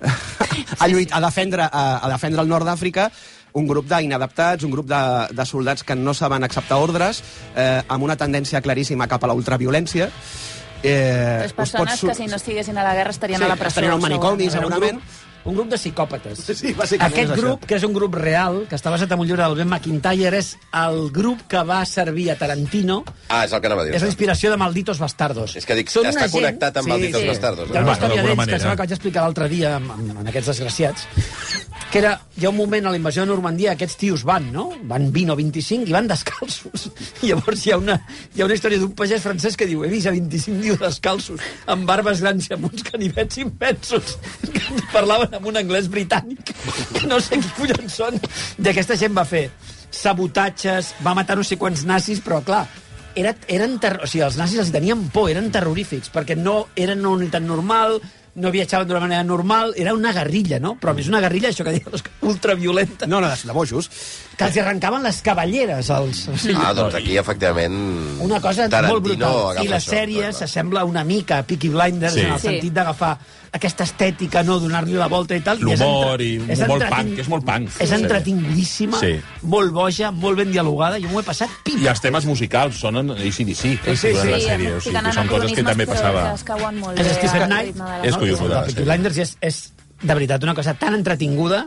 a, lluit, a, defendre, a, a defendre el nord d'Àfrica un grup d'inadaptats, un grup de, de soldats que no saben acceptar ordres, eh, amb una tendència claríssima cap a la ultraviolència. Eh, Les us pot persones su- que si no estiguessin a la guerra estarien Sí, a la presó. estarien al manicomi, segurament. segurament. eh? Un grup de psicòpates. Sí, bàsicament Aquest és això. grup, que és un grup real, que està basat en un llibre del Ben McIntyre, és el grup que va servir a Tarantino. Ah, és el que anava a dir. És la inspiració de Malditos Bastardos. És que dic, Són està una gent- connectat amb Sí, Malditos sí. Bastardos, eh? Hi ha no? una Bueno, història d'alguna d'ells que manera. sembla que vaig explicar l'altre dia amb, amb, amb aquests desgraciats, que era, hi ha un moment a la invasió de Normandia, aquests tios van, no? Van 20 o 25 i van descalços. I llavors hi ha una, hi ha una història d'un pagès francès que diu, he vist a 25 tios descalços, amb barbes grans i amb uns canivets immensos, que parlaven amb un anglès britànic, que no sé qui collons són. I aquesta gent va fer sabotatges, va matar no sé quants nazis, però clar, era, eren terror... o sigui, els nazis els tenien por, eren terrorífics, perquè no eren una unitat normal, no viatjaven d'una manera normal, era una guerrilla, no? Però a més una guerrilla, això que deies, ultraviolenta. No, no, de bojos. Que els hi arrencaven les cavalleres, els... O sigui, Ah, doncs aquí, efectivament... Ah, una cosa Tarantino molt brutal. agafa I la això. sèrie s'assembla una mica a Peaky Blinders Sí. en el Sí. sentit d'agafar aquesta estètica, no donar-li la volta i tal. L'humor i és entre- un molt entretin- punk, és molt punk. És entretingudíssima, sí. Sí. molt boja, molt ben dialogada. Jo m'ho he passat I els temes musicals sonen ACDC. Sí, sí, sí, durant la sí, sèrie, o sigui, que són coses que també passava... Es cauen molt És bé Stephen al Knight. ritme de la És novel·la. collonguda, La la Peaky sèrie. Blinders és, és, de veritat, una cosa tan entretinguda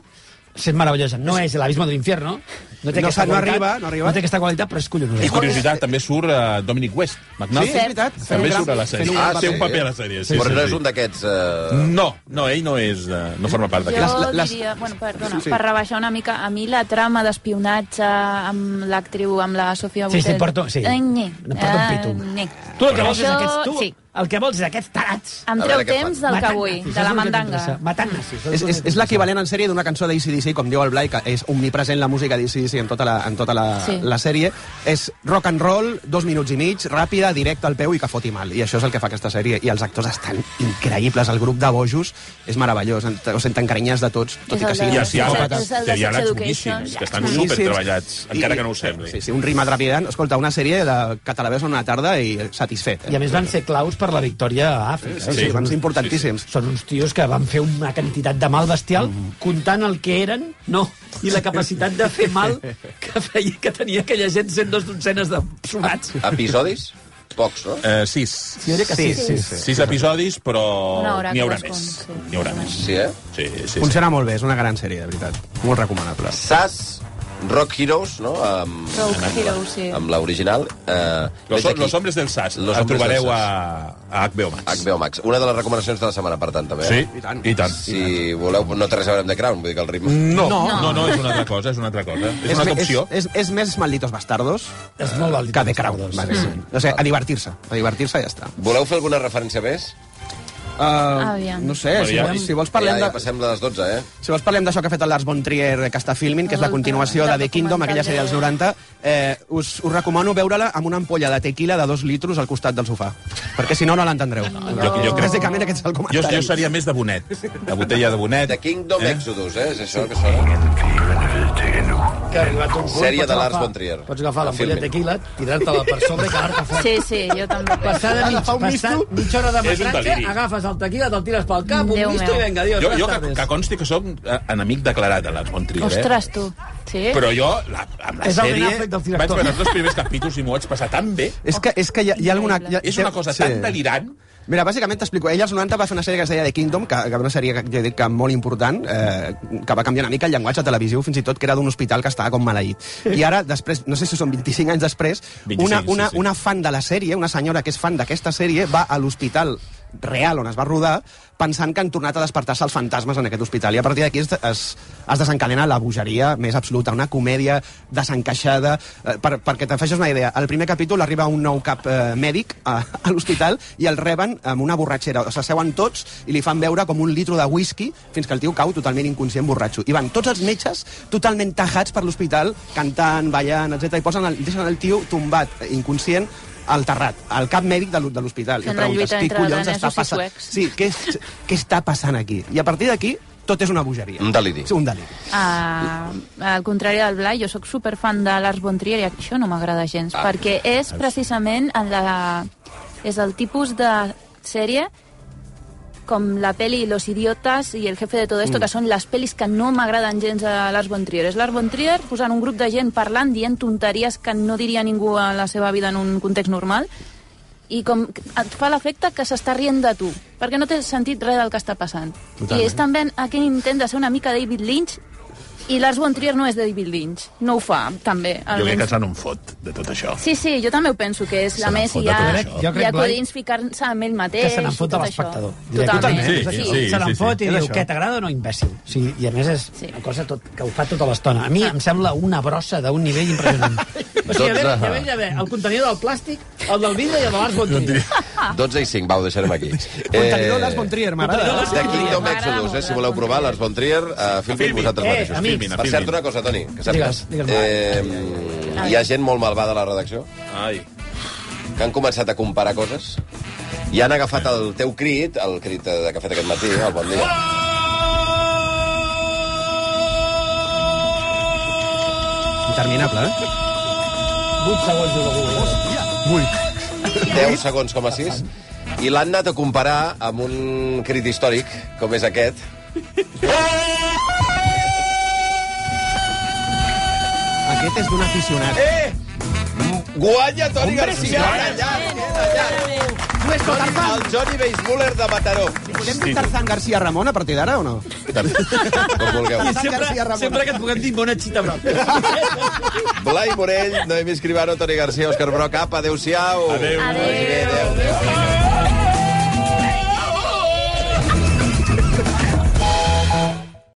és meravellosa. No és l'abismo de l'infierno. No té No aquesta s'ha- no qualitat, arriba, no arriba. No té aquesta qualitat, però és collonuda. I curiositat, també surt uh, Dominic West, McNulty. Sí, és veritat. També Fent un surt a la gran- sèrie. fent un Ah, gran té un paper. paper a la sèrie. Sí, Sí, però sí, no és sí. un d'aquests... Eh... No, no, ell no és... De, no forma part d'aquest. Jo diria, bueno, perdona, Sí. per rebaixar una mica, a mi la trama d'espionatge amb l'actriu, amb la Sofia Sí, Boutell... sí, porto- sí. Eh, nye, No porto un pitum. eh, nye. Tu el que vols és Això- aquests... Tu, Sí. el que vols és aquests tarats. Em A treu veure què temps fan. del que Matant vull, nazis, de és la el que mandanga. t'interessa. Matant nazis. És, és, és l'equivalent en sèrie d'una cançó d'ACDC, com diu el Blai, que és omnipresent la música d'ACDC en tota, la, en tota la, Sí. sí. la sèrie. És rock and roll, dos minuts i mig, ràpida, directa al peu i que foti mal. I això és el que fa aquesta sèrie. I els actors estan increïbles. El grup de bojos és meravellós. En- O sent t'encarinyes de tots, tot i que siguin I els diàlegs, psicòpates. té diàlegs boníssims, que estan Boníssims. super treballats, encara que no ho sembli. Sí, sí, un ritme trepidant. Escolta, una sèrie de, que te la veus en una tarda i satisfet. Eh? I a més van ser claus per la victòria a Àfrica. Sí, sí, van ser importantíssims. Són uns tios que van fer una quantitat de mal bestial Mm-hmm. comptant el que eren, no, i la capacitat de fer mal que feia que tenia aquella gent sent dos dotzenes de sumats. Episodis? Pocs, no? Eh, sis. Jo crec que sí. sí, sí. Sis episodis, Una però hora n'hi haurà cadascun, més. sí. N'hi haurà més. Sí, eh? Sí, sí, sí. Funciona molt bé, és una gran sèrie, de veritat. Molt recomanable. SAS, Rock Heroes, no? Amb, Rogue Hero, sí. amb l'original. Eh, Los, veig aquí. los hombres del SAS. Los Los el hombres trobareu del a, SAS. a HBO Max. HBO Max. Una de les recomanacions de la setmana, per tant, també. Sí, Eh? i tant. I tant. Si voleu, no té res a veure amb The Crown, vull dir que el ritme... No, no, no, no, és una altra cosa, és una altra cosa. És, una altra me- opció. És, és, és més Malditos Bastardos És molt vàlid. que de Crown. Mm. O sigui, a divertir-se. A divertir-se i ja està. Voleu fer alguna referència més? Uh, Aviam. no sé, si, Aviam. si vols ja, parlem ja de... passem de les 12, eh? Si vols parlem d'això que ha fet el Lars von Trier que està filmint, que és la continuació de The Kingdom, aquella sèrie dels 90, eh, us, us recomano veure-la amb una ampolla de tequila de dos litros al costat del sofà, perquè si no, no l'entendreu. Jo- jo crec- Bàsicament aquest és el Jo, comentari. jo seria més de bonet. De botella de bonet. The Kingdom eh? Exodus, eh? És això que sona. Que ha arribat un punt, Sèrie pots de Lars agafar- von Trier. Pots agafar l'ampolla Filmin. de tequila, tirar-te-la per sobre i quedar-te fort. Sí, sí, jo també. Passada mig, Agafar un passar misto? mitja hora de És un metratge, deliri. agafes el tequila, te'l tires pel cap, un Déu misto meu. i vinga, adiós. Jo, bones jo que, tardes. que consti que som eh, enemic declarat de Lars von Trier, Ostres, tu. Sí? eh? Però jo, la, amb la És el Ben sèrie, Affleck del vaig director. veure els dos primers capítols i m'ho vaig passar tan bé. És que, és que hi ha, hi ha alguna... Hi ha, És una cosa tan delirant. Mira, bàsicament t'explico. Ell als 90 va fer una sèrie que es deia The Kingdom, que, que era una sèrie que, jo dic que molt important, eh, que va canviar una mica el llenguatge televisiu, fins i tot que era d'un hospital que estava com maleït. I ara, després, no sé si són 25 anys després, 25, una, sí, una, sí. una fan de la sèrie, una senyora que és fan d'aquesta sèrie, va a l'hospital real on es va rodar, pensant que han tornat a despertar-se els fantasmes en aquest hospital. I a partir d'aquí es, es, es desencadena la bogeria més absoluta, una comèdia desencaixada. Eh, per, perquè te'n facis una idea, al primer capítol arriba un nou cap eh, mèdic a, a l'hospital i el reben amb una borratxera. S'asseuen tots i li fan veure com un litro de whisky fins que el tio cau totalment inconscient borratxo. I van tots els metges totalment tajats per l'hospital, cantant, ballant, etc. I posen el, deixen el tio tombat, eh, inconscient, al terrat, al cap mèdic de l'ho- de l'hospital. I Fent et la lluita entre danesos i passant? suecs. Sí, què, és- què està passant aquí? I a partir d'aquí, tot és una bogeria. Un deliri. Sí, un deliri. Ah, al contrari del Blai, jo sóc superfan de Lars von Trier i això no m'agrada gens, Ah. perquè és precisament en la... és el tipus de sèrie com la peli Los idiotas i El jefe de todo Mm. esto, que són les pelis que no m'agraden gens a Lars von Trier. És Lars von Trier posant un grup de gent parlant, dient tonteries que no diria ningú a la seva vida en un context normal, i com que et fa l'efecte que s'està rient de tu, perquè no té sentit res del que està passant. Totalment. I és també aquell intent de ser una mica David Lynch, i Lars von Trier no és David Lynch, no ho fa, també. Jo crec que almenys. se n'en fot, de tot això. Sí, sí, jo també ho penso que és. Se la n'en més, fot hi ha, de tot això. Jo crec, hi ha Blai, codins ficant-se amb ell mateix. que se n'en fot i de tot l'espectador. això. Totalment, Sí, sí. sí. se l'en fot sí. i És diu, això. què t'agrada o no, imbècil? O sigui, I a més és Sí. Ah. una cosa tot, que ho fa tota l'estona. A mi em sembla una brossa d'un nivell impressionant. o sigui, a veure, Dotze. ja veig, ja veig, el contenidor del plàstic, el del vidre i el de l'Ars Bontrier. 12 i 5, va, ho deixarem aquí. Eh, Contenidor Lars von Trier, m'agrada. The Kingdom M'agrada Exodus, eh? molt, Si voleu Lars von provar, Trier. Lars von Trier, uh, filmin vosaltres Eh, mateixos. amics. Filmin, Per cert, filmin. una cosa, Toni, que sàpigues. Digues, digues. Eh, hi ha gent molt malvada a la redacció Ai. que han començat a comparar coses i han agafat el teu crit, el crit eh, que ha fet aquest matí, el bon dia. Interminable, eh? 8 segons de Google. 10 segons com a 6 i l'han anat a comparar amb un crit històric com és aquest Aquest és d'un aficionat. guanya Toni Garcia allà, allà. Només tot el fan. el Johnny Weissmuller de Mataró Podem dir Tarzan García Ramon a partir d'ara o no? com vulgueu Tarzan García Ramon. Sempre que et puguem dir bona xita, però... Blai Morell, Noemí Escribano, Toni Garcia, Òscar Broc apa, adeu-siau Adéu. Vagi bé, adéu. adéu.